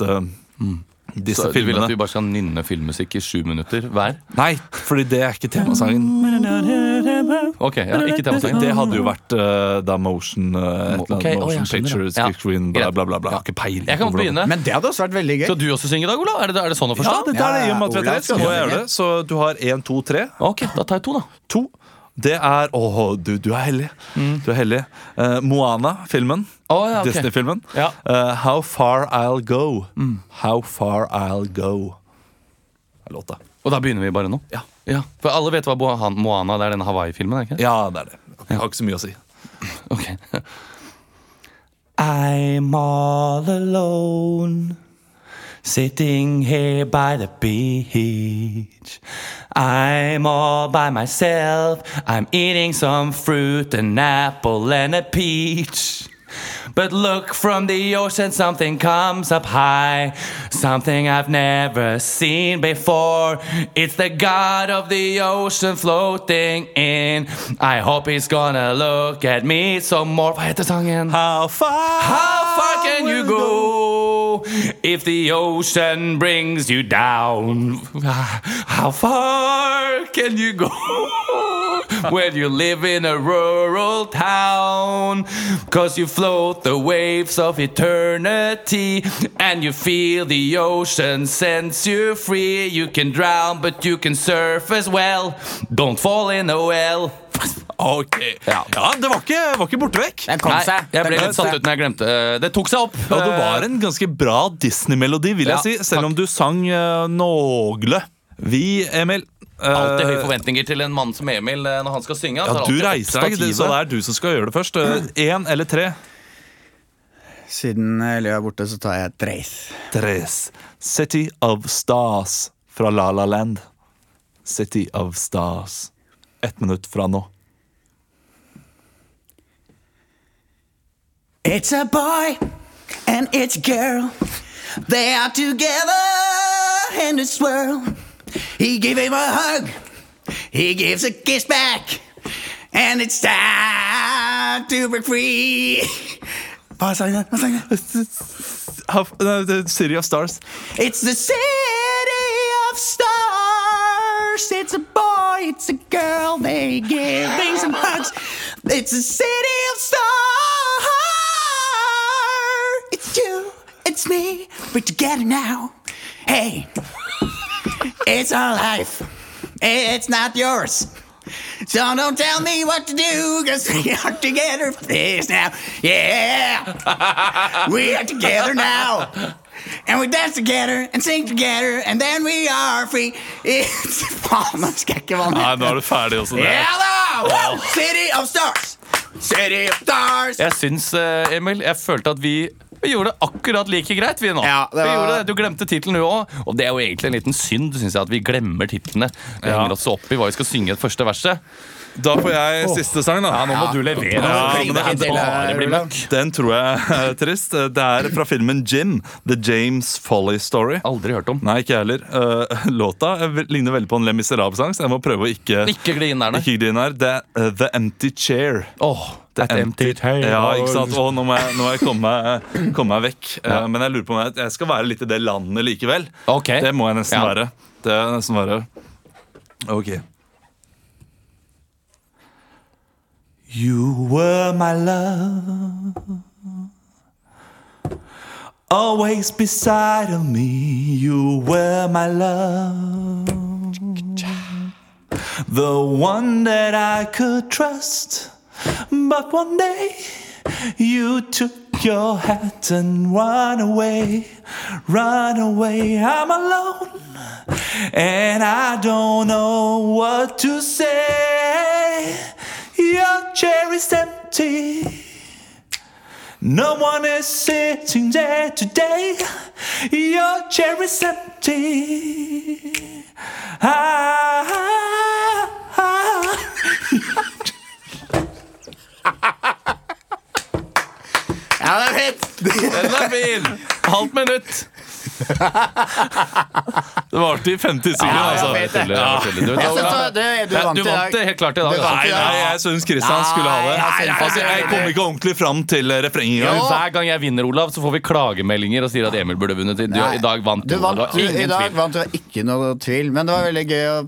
Mm.
disse, disse
Så du vil
filmene.
at vi bare skal nynne filmmusikk i sju minutter hver?
Nei, fordi det er ikke temasangen.
Ok, ja, ikke temasangen.
Det hadde jo vært eh, da motion, eh, et eller
Ok,
annet
å, jeg
motion
skjønner det.
picture,
Ja.
screen, bla, bla, bla. bla.
Ja.
Har Ikke peiling.
Jeg kan
på hvordan-
begynne.
Men det hadde også vært veldig gøy.
Skal du også synge i dag, Olav? Er det, er det sånn å forstå?
Ja, det der er i og med at vi er tre,
Olav
så
skal
må jeg
synge.
gjøre det. Så du har én, to, tre.
Ok, da tar jeg to, da.
To. Det er Åh, du, du er heldig. Du er heldig. Eh, Moana, filmen.
Mm. Å, ja, ok.
Disney-filmen.
Ja.
Eh, How Far I'll Go. How Far I'll Go. Det er Låta.
Og da begynner vi bare nå?
Ja.
For alle vet hva Bohan- Moana det er denne Hawaii-filmen? er det ikke?
Ja, det er det. Jeg har ikke så mye å si.
Ok. I'm all alone Sitting here by the beach I'm all by myself I'm eating some fruit An apple and a peach But look from the ocean Something comes up high Something I've never seen before It's the god of the ocean Floating in I hope he's gonna look at me some more Hva heter sangen?
How far,
How far can you go if the ocean brings you down? How far can you go when you live in a rural town? Cause you float the waves of eternity and you feel the ocean sends you free. You can drown, but you can surf as well. Don't fall in a well.
Ok. Ja, det var ikke, var ikke borte vekk.
Den kom seg.
jeg
Den
ble
kom
litt satt
seg.
ut når jeg glemte. eh, Det tok seg opp.
Ja, det var en ganske bra Disney-melodi, vil
Ja,
jeg si. Selv
takk.
om du sang uh, nogle. Vi, Emil eh,
Alltid høye forventninger til en mann som Emil eh, når han skal synge.
ja, Du reiser deg, sånn så det er du som skal gjøre det først. Én eller tre?
Siden eh, Leo er borte, så tar jeg Dreis.
Tres. City of Stars fra La La Land. City of Stars. Ett minutt fra nå.
It's a boy and it's a girl. They are together in this world. He gave him a hug. He gives a kiss back. And it's time to break free. Hva sa jeg? Hva sa jeg?
Half- nei, det er City of Stars.
It's the city of stars. It's a boy, it's a girl. They give me some hugs. It's the city of stars. It's you, it's me. We're together now. Hey.
It's our life. It's not yours. So don't tell me what to do, cause we are together for this now. Yeah! we are together now. And we dance together and sing together, and then we are free. It's Faen, nå skal jeg ikke være
Nei,
med.
nå er du ferdig også. Det.
Ja da! Woo! City of stars! City of stars!
Jeg syns, eh, Emil, jeg følte at vi vi gjorde det akkurat like greit, vi nå.
Ja, det
vi
var-
gjorde det. Du glemte tittelen, du òg. Og det er jo egentlig en liten synd, syns jeg, at vi glemmer titlene. Vi henger oss opp i hva vi skal synge i det første verset.
Da får jeg siste sang, da. Ja, nå må du levere.
altså.
Klin deg til, eh, Olav.
Den tror jeg er trist. Det er fra filmen Jim, The James Folly Story.
Aldri hørt om.
Nei, ikke jeg heller. Eh, låta eh, ligner veldig på en Les Miserables-sang, så jeg må prøve å ikke
Ikke gli inn der, nei.
ikke grine her. Det er eh, The Empty Chair.
Åh, that empty chair.
Ja, ikke sant? Åh, nå må jeg, nå må jeg komme, meg, komme meg vekk. Eh, Men jeg lurer på om jeg, jeg skal være litt i det landet likevel.
Ok.
Det må jeg nesten
Ja.
være. Det er nesten være. Ok. You were my love Always beside of me You were my love The one that I could trust But one day you took your hat and run away, run away. I'm alone and I don't know what to say. Your chair is empty. No one is sitting there today. Your chair is empty. Ah, ah.
Ja, det er fint!
Den er fin! Halvt minutt. Det varte i 50 sekunder, altså.
Det var tydelig, det var tydelig. Du vet,
Jeg
Olav,
synes det- det- Du vant i
Du
dag.
vant det helt klart i dag.
Nei,
Altså.
nei, jeg syns Christian skulle ha det.
Nei, jeg synes
altså, jeg kom ikke ordentlig fram til eh, refrenget
Men
engang.
Hver gang jeg vinner, Olav, så får vi klagemeldinger og sier at Emil burde vunnet. Du, I dag vant
du. Vant,
Olav.
du I
Ingen
dag
tvil.
vant du ikke noe tvil, men det var veldig gøy å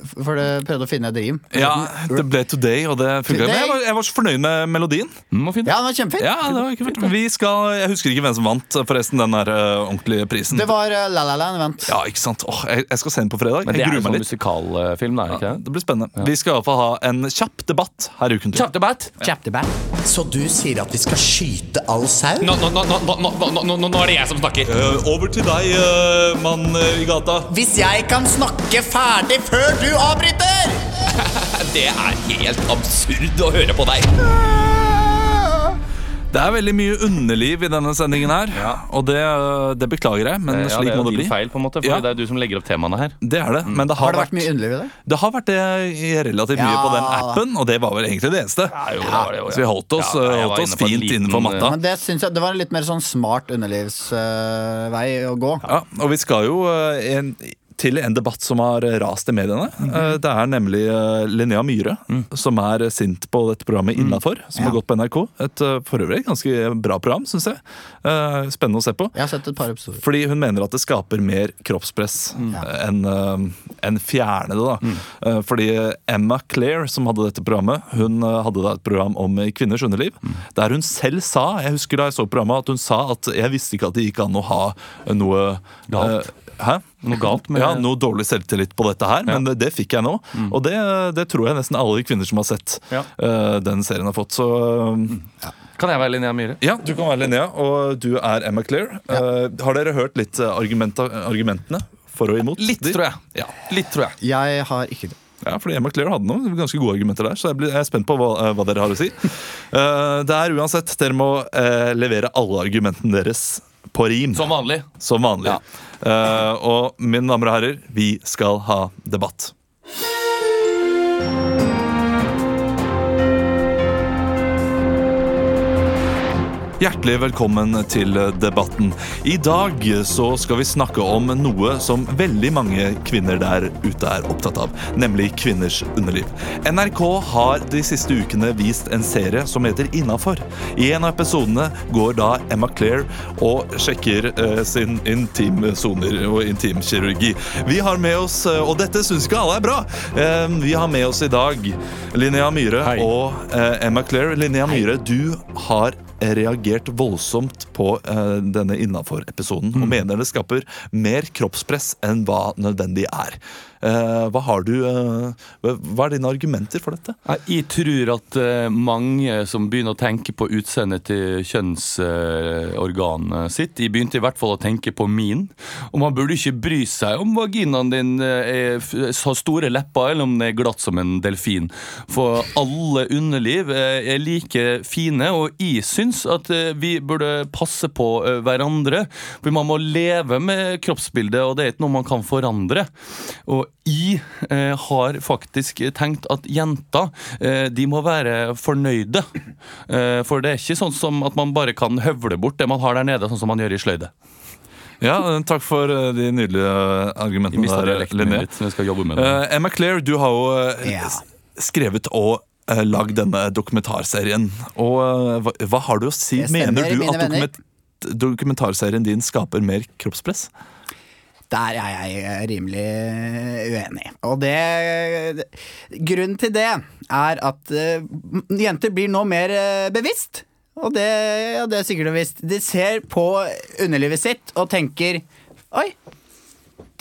For det prøvde å finne et rim.
Ja, det ble Today, og det funka. Men jeg var, jeg var så fornøyd med melodien.
Mm, og fint.
Ja, den var kjempefin.
Ja, det var ikke fint. Vi skal, Jeg husker ikke hvem som vant, forresten, den der eh, ordentlige prisen.
Det var eh, La La Land vant.
Ja, ikke sant? Åh, jeg, jeg skal se den på fredag.
Men det
Jeg
er jo
gruer
sånn
meg litt.
musikalfilm, da, er det ikke det?
Det blir spennende. Vi skal iallfall ha en kjapp debatt her i Uken til.
Så du sier at vi skal skyte all sau?
Nå, nå, nå, nå, nå, nå, nå, nå, nå er det jeg som snakker.
Eh,
over til deg, mann i gata.
Hvis jeg kan snakke ferdig før du avbryter!
Det er helt absurd å høre på deg.
Det er veldig mye underliv i denne sendingen her, og det, det beklager jeg, men
Eh, Ja,
slik
det er
må
jo
det bli.
din feil, på en måte, for
Ja.
det er du som legger opp temaene her. Mm.
Det er det, men det har,
Har det vært
vært,
mye underliv i det?
det har vært det relativt mye
Ja.
på den appen, og det var vel egentlig det eneste. Så vi holdt oss, eh,
Ja, jeg var
holdt oss
inne på en
fint
liten, eh,
innenfor matta.
Men det syns jeg det var en litt mer sånn smart underlivsvei å gå.
Ja, og vi skal jo eh, en, til en debatt som har eh, rast i mediene. Eh, Det er nemlig eh, Linnea Myhre, som er eh, sint på dette programmet Innafor, som har gått på NRK. Et eh, for øvrig ganske bra program, syns jeg. Eh, Spennende å se på.
Jeg har sett et par episoder. Mm.
Fordi hun mener at det skaper mer kroppspress enn eh, enn fjerne det. da.
Mm.
Eh, Fordi Emma Claire, som hadde dette programmet, hun eh, hadde da et program om eh, kvinners underliv.
Mm.
Der hun selv sa jeg husker da jeg så programmet, at hun sa at jeg visste ikke at det gikk an å ha eh, noe
Galt.
eh, Hæ?
Noe galt med- Mm.
Ja, noe dårlig selvtillit på dette her, men det, det fikk jeg nå. Og det, det tror jeg nesten alle kvinner som har sett
Ja. Mm.
eh, den serien, har fått. Så eh,
Kan jeg være Linnea Myhre?
ja, du kan være Linnea, og du er Emma Clear. Eh, har dere hørt litt eh, argumenta, argumentene for og imot?
Litt, tror jeg. Litt, tror jeg.
Jeg har ikke det.
Ja, fordi Emma Clear hadde noen ganske gode argumenter der, så jeg blir- jeg er spent på hva, eh, hva dere har å si. Eh, det er uansett, dere må eh, levere alle argumentene deres på rim, som,
Som vanlig.
vanlig. Eh, og mine damer og herrer, vi skal ha debatt. Hjertelig velkommen til debatten. I dag så skal vi snakke om noe som veldig mange kvinner der ute er opptatt av, nemlig kvinners underliv. NRK har de siste ukene vist en serie som heter Innafor. I en av episodene går da Emma Claire og sjekker eh, sin intime soner og intimkirurgi. Vi har med oss, eh, og dette syns ikke alle er bra, eh, vi har med oss i dag Linnea Myhre og eh, Emma Claire. Linnea Myhre, du har reagert voldsomt på eh, denne innafor-episoden, og mener det skaper mer kroppspress enn hva nødvendig er. Eh, hva har du eh, Hva er dine argumenter for dette?
Nei, Jeg tror at eh, mange som begynner å tenke på utseendet til kjønnsorganet eh, sitt Jeg begynte i hvert fall å tenke på min. Og man burde ikke bry seg om vaginaen din eh, er, f- har store lepper, eller om den er glatt som en delfin. For alle underliv eh, er like fine, og jeg syns at eh, vi burde passe på eh, hverandre. For man må leve med kroppsbildet, og det er ikke noe man kan forandre. Og jeg eh, har faktisk tenkt at jenter eh, de må være fornøyde. Eh, for det er ikke sånn som at man bare kan høvle bort det man har der nede, sånn som man gjør i sløyde.
Ja, eh, Takk for eh, de nydelige eh,
Jeg
argumentene.
mistet
der,
dialekten min
Linnea.
litt, men jeg skal jobbe med det.
Eh, Emma Claire, du har jo eh,
Ja.
s- skrevet og uh, lagd denne dokumentarserien. Og eh, hva, hva har du å si?
Jeg stemmer,
Mener du
mine
at
venner.
dokument, dokumentarserien din skaper mer kroppspress?
Der er jeg eh, rimelig eh, uenig. Og det Grunnen til det er at eh, jenter blir nå mer eh, bevisst. Og det, ja, det er sikkert og visst. De ser på underlivet sitt og tenker Oi,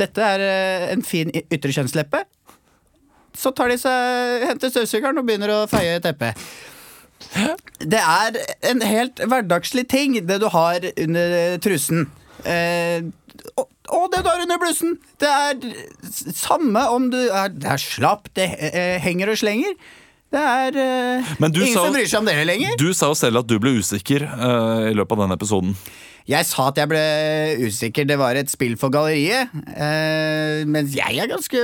dette er eh, en fin y- ytre kjønnsleppe. Så tar de seg, henter støvsugeren og begynner å feie teppet. Det er en helt hverdagslig ting, det du har under trusen. Eh, og, og det du har under blussen! Det er s- samme om du er, det er slapp, det eh, henger og slenger. Det er eh,
Men du
ingen
sa-
som bryr seg om dere lenger.
Du sa jo selv at du ble usikker eh, i løpet av denne episoden.
Jeg sa at jeg ble usikker, det var et spill for galleriet. Eh, mens jeg er ganske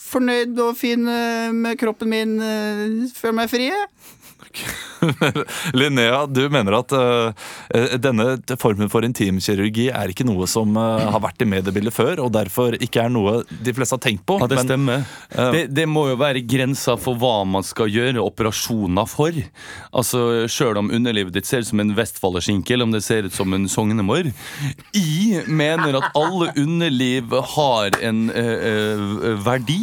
fornøyd og fin eh, med kroppen min. Eh, Føler meg fri. jeg.
Linnea, du mener at eh, eh, denne formen for intimkirurgi er ikke noe som eh, har vært i mediebildet før, og derfor ikke er noe de fleste har tenkt på.
Ja, det
men-
stemmer.
Ja.
Det, det må jo være grensa for hva man skal gjøre operasjoner for. Altså, Sjøl om underlivet ditt ser ut som en vestfolderskinke, eller om det ser ut som en sognemor. Jeg mener at alle underliv har en eh, eh, verdi.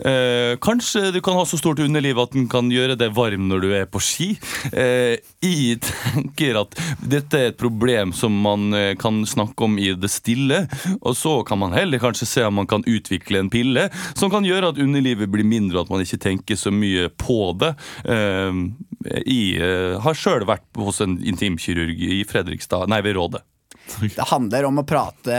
Eh, kanskje du kan ha så stort underliv at den kan gjøre deg varm når du er på ski. Eh, jeg tenker at dette er et problem som man eh, kan snakke om i det stille. Og så kan man heller kanskje se om man kan utvikle en pille som kan gjøre at underlivet blir mindre, og at man ikke tenker så mye på det. Eh, jeg eh, har sjøl vært hos en intimkirurg i Fredrikstad, nei, ved Rådet.
Det handler om å prate,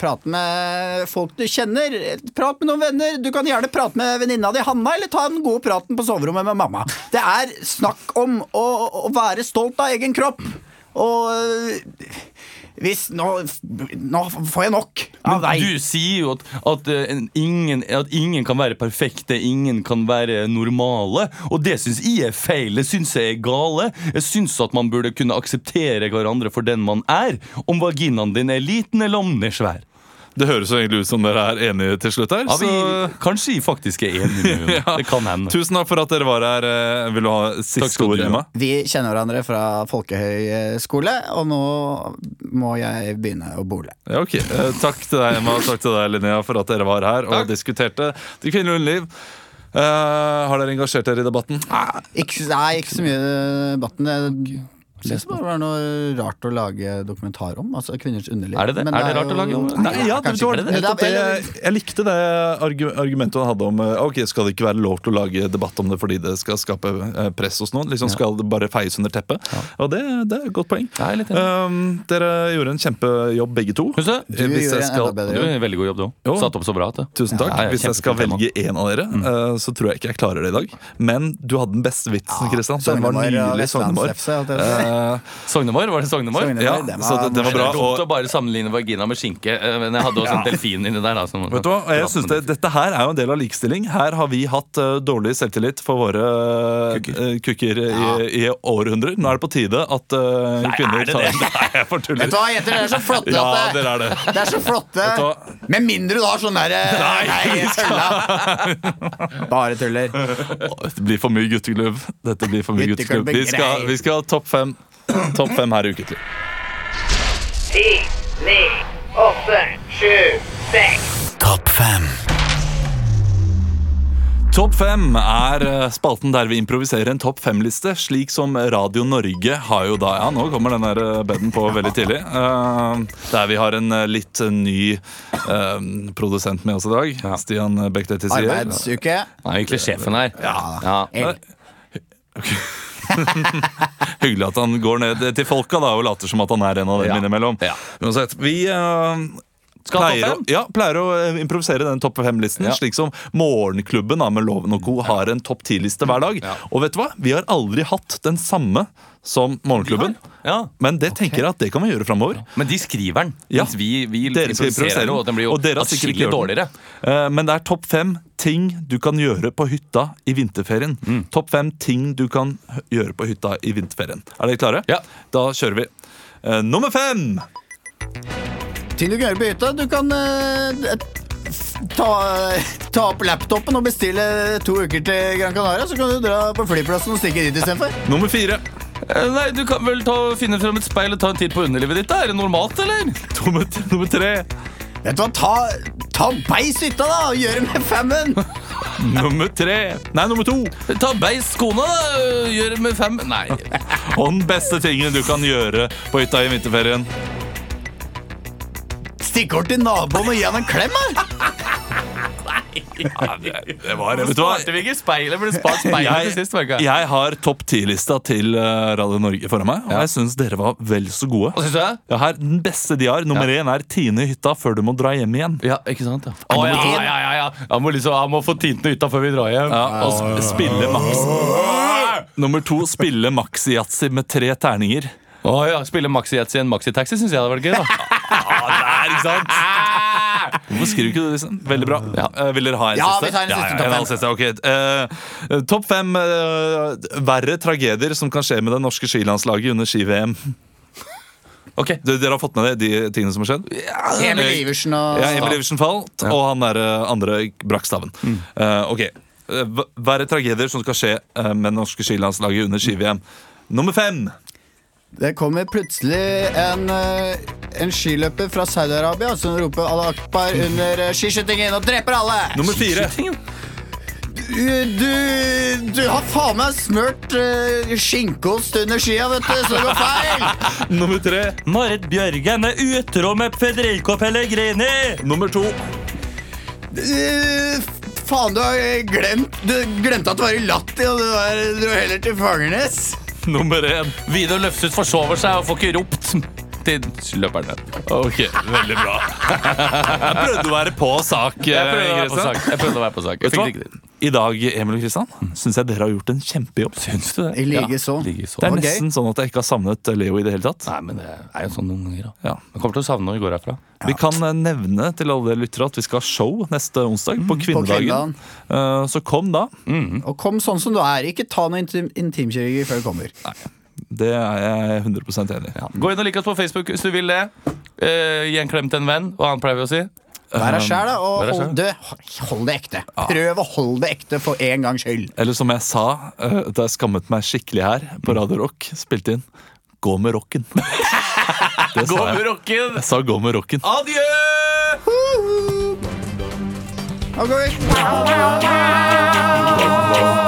prate med folk du kjenner. Prat med noen venner. Du kan gjerne prate med venninna di Hanna, eller ta den gode praten på soverommet med mamma. Det er snakk om å, å være stolt av egen kropp. Og øh, hvis Nå, nå får jeg nok av deg.
Du sier jo at, at, eh, en- ingen, at ingen kan være perfekte, ingen kan være normale. Og det syns jeg er feil. Det syns jeg er gale. Jeg syns at man burde kunne akseptere hverandre for den man er. Om vaginaen din er liten, eller om den er svær.
Det høres jo egentlig ut som dere er enige til slutt her.
Ja, vi,
så-
kanskje jeg faktisk er enig med henne. Det kan hende.
Tusen takk for at dere var her. Eh, Vil du ha
Takk
siste
skal
ord,
du ha.
Emma?
Vi kjenner hverandre fra folkehøyskole, og nå må jeg begynne å bole.
Ja, ok. Eh, Takk til deg, Emma, og takk til deg, Linnea, for at dere var her og diskuterte Det kvinnelige underliv. Eh, har dere engasjert dere i debatten?
Ikke, nei, ikke så mye debatten. Jeg syns bare det var noe rart å lage dokumentar om. Altså kvinners underliv.
Er det det?
Men
Er det rart å lage om det?
Nei, ja, det,
kanskje
var
ikke
nettopp det. Jeg, jeg likte det argu- argumentet han hadde om eh, Ok, skal det ikke være lov til å lage debatt om det fordi det skal skape eh, press hos noen? Liksom Skal det bare feies under teppet? Og det, det er et godt poeng.
Jeg er litt enig.
Um, dere gjorde en kjempejobb, begge to.
Husk det.
Eh, hvis
gjorde
jeg
en
skal-
enda bedre
Du
jobb.
gjør en veldig god jobb, du
Jo.
òg. Satt opp så bra. At det.
Tusen takk.
Ja, ja,
Hvis jeg skal
kjempefint
velge
tema.
én av dere,
Mm.
eh, så tror jeg ikke jeg klarer det i dag. Men du hadde den beste vitsen, Kristian. Den var
Sognemor og
nydelig Sognemor.
Vestlands FC, alt det der.
Eh,
Sognemor, var det Sognemor?
Sognemor.
ja,
det var-
så det, det var
Det
bra.
er dumt å
Og,
bare sammenligne vagina med skinke, eh, men jeg hadde også en delfin inni der. Da, som-
vet du hva? Og jeg synes det, Dette her er jo en del av likestilling. Her har vi hatt eh, dårlig selvtillit for våre eh, kukker i, i århundrer. Nå er det på tide at eh, kvinner tar Nei, jeg
Vet du
fortuller.
hva, jenter, dere er så flotte!
Ja,
at det-
dere er det.
det er så flotte!
du hva?
Med mindre du har sånn derre Nei, jeg tulla. Bare tuller.
Dette blir for mye gutteklubb. Dette blir for mye gutteklubb. Vi skal, vi skal ha topp fem. Topp fem her i Ukeklubb.
Ti, ni, åtte, sju, seks.
Topp fem er eh, spalten der vi improviserer en topp fem-liste, slik som Radio Norge har jo da Ja, nå kommer den der eh, beden på veldig tidlig. Eh, der vi har en eh, litt eh, ny eh, produsent med oss i dag. Stian Bekdøy til side.
Arbeidsuke.
Han er egentlig sjefen her. Ja.
Hyggelig at han går ned til folka da og later som at han er en av dem innimellom.
Ja.
Uansett, vi eh,
Skal han
pleier
ta
å,
fem?
ja, pleier å eh, improvisere den topp fem-listen.
Ja.
Slik som Morgenklubben da, med Loven og co. har en topp ti-liste hver dag. Og vet du hva? Vi har aldri hatt den samme som Morgenklubben.
Ja.
Men det tenker jeg at det kan vi gjøre framover.
Men de skriver den,
Ja.
mens vi, vi
Dere skal improvisere
improviserer,
den,
og den blir jo
og dere har sikkert ikke
atskillig
gjort den. Eh,
dårligere.
Men det er topp fem ting du kan gjøre på hytta i vinterferien.
Mm.
Topp fem ting du kan hø- gjøre på hytta i vinterferien. Er dere klare?
Ja.
Da kjører vi. Eh, Nummer fem!
Ting du kan gjøre på hytta. Du kan eh, ta, ta opp laptopen og bestille to uker til Gran Canaria, så kan du dra på flyplassen og stikke dit istedenfor.
Nummer fire.
Eh, Nei, Du kan vel ta, finne fram et speil og ta en titt på underlivet ditt? da Er det normalt, eller?
Nummer, nummer tre.
Vet du hva, ta, ta beis hytta, da, og gjør det med femmen!
Nummer tre. Nei, nummer to.
Ta beis kona, da. Gjør det med fem Nei.
Og den beste tingen du kan gjøre på hytta i vinterferien.
Stikk over til naboen og gi han en klem, da!
Det var Vet du hva?
vi ikke speilet? Ble spart
Jeg, jeg har topp ti-lista til eh, Radio Norge foran meg, og jeg syns dere var vel så
Hva
gode.
syns du? jeg?
Ja, her, den beste de har, nummer én, er Tine i hytta før du må dra hjem igjen.
Ja, ikke sant? Ja. Å, ja, ja, ja, ja. Han må, liksom, han må få tintene ut av før vi drar hjem.
Ja, og sp- spille maks. Nummer to, spille maxi-yatzy med tre terninger.
Å, ja. Spille maxi-yatzy i en maxitaxi syns jeg hadde vært gøy. da
Hvorfor skriver ikke du det? Liksom? Veldig bra. Eh, vil dere ha en
Ja,
siste?
vi tar en siste topp
en
fem.
annen siste. ok. Eh, topp fem eh, verre tragedier som kan skje med det norske skilandslaget under ski-VM.
Ok,
Du- Dere har fått med deg de tingene som har skjedd?
Emil Iversen og
Ja, Emil Iversen falt, og han der eh, andre brakk staven. Eh, ok, Eh, v- Verre tragedier som skal skje eh, med det norske skilandslaget under ski-VM. Nummer fem.
Det kommer plutselig en, eh, en skiløper fra Saudi-Arabia som roper Al Akbar under eh, skiskytingen og dreper alle!
Nummer fire.
Du, du, du har faen meg smurt eh, skinkeost under skia, vet du, så det går feil!
Nummer tre.
Marit Bjørgen er utro med Federico Pellegrini!
Nummer to.
Du, faen, du har eh, glemt Du glemte at du var i Latti, og du var, du var heller til Fagernes.
Nummer én.
Vidar Løfshus forsover seg og får ikke ropt til løperne.
Ok, veldig bra. Jeg prøvde å være på sak.
Jeg prøvde å være på
Kristian.
sak. Jeg prøvde å være på sak. Jeg
Vet du
fikk det ikke til.
hva? I dag eh, Emil og Kristian, syns jeg dere har gjort en kjempejobb. Syns du
I like så.
Det er
Ok.
nesten sånn at jeg ikke har savnet Leo i det hele tatt.
Nei, men det er jo sånn noen ganger, da.
Ja.
Jeg kommer til å savne når vi går herfra.
Vi kan eh, nevne til alle dere lyttere at vi skal ha show neste onsdag, på kvinnedagen.
Mm, kvinnedagen.
Eh, Så kom da.
Og kom sånn som du er. Ikke ta noe intim intimkirurgi før du kommer.
Det er jeg 100 enig i.
Gå inn og lik oss på Facebook hvis du vil det. Eh, gi en klem til en venn, og han pleier vi å si. Um,
Vær deg sjæl, da,
vær
og hold
deg
det, hold det ekte. Prøv å holde det ekte for en gangs skyld.
Eller som jeg sa eh, da jeg skammet meg skikkelig her på Radio Rock, spilte inn Gå med rocken. Det sa jeg.
rocken!
Jeg sa gå med rocken.
Ah,
Adjø!
Nå går vi.